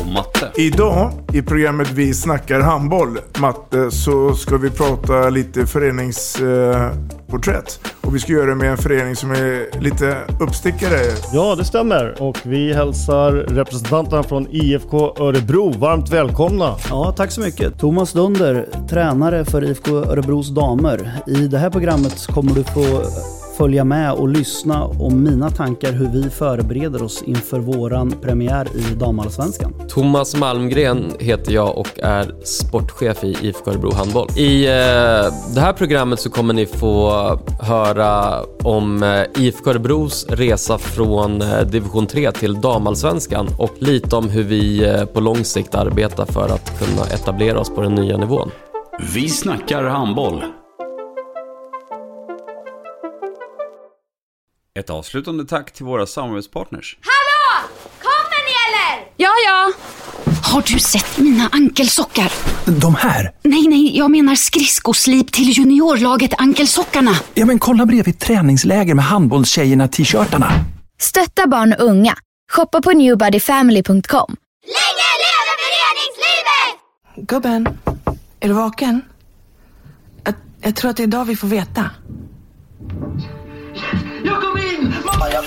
och Matte. Idag i programmet Vi snackar handboll, Matte, så ska vi prata lite föreningsporträtt. Och vi ska göra det med en förening som är lite uppstickare. Ja, det stämmer. Och vi hälsar representanterna från IFK Örebro varmt välkomna. Ja, tack så mycket. Thomas Dunder, tränare för IFK Örebros damer. I det här programmet kommer du få följa med och lyssna om mina tankar hur vi förbereder oss inför våran premiär i damallsvenskan. Thomas Malmgren heter jag och är sportchef i IFK Örebro Handboll. I eh, det här programmet så kommer ni få höra om eh, IFK Örebros resa från eh, division 3 till damallsvenskan och lite om hur vi eh, på lång sikt arbetar för att kunna etablera oss på den nya nivån. Vi snackar handboll. Ett avslutande tack till våra samarbetspartners. Hallå! Kommer ni eller? Ja, ja. Har du sett mina ankelsockar? De här? Nej, nej, jag menar skridskoslip till juniorlaget Ankelsockarna. Ja, men kolla bredvid träningsläger med handbollstjejerna-t-shirtarna. Stötta barn och unga. Shoppa på newbodyfamily.com. Länge leve föreningslivet! Gubben, är du vaken? Jag, jag tror att det är idag vi får veta. Jag kom in! Mamma, jag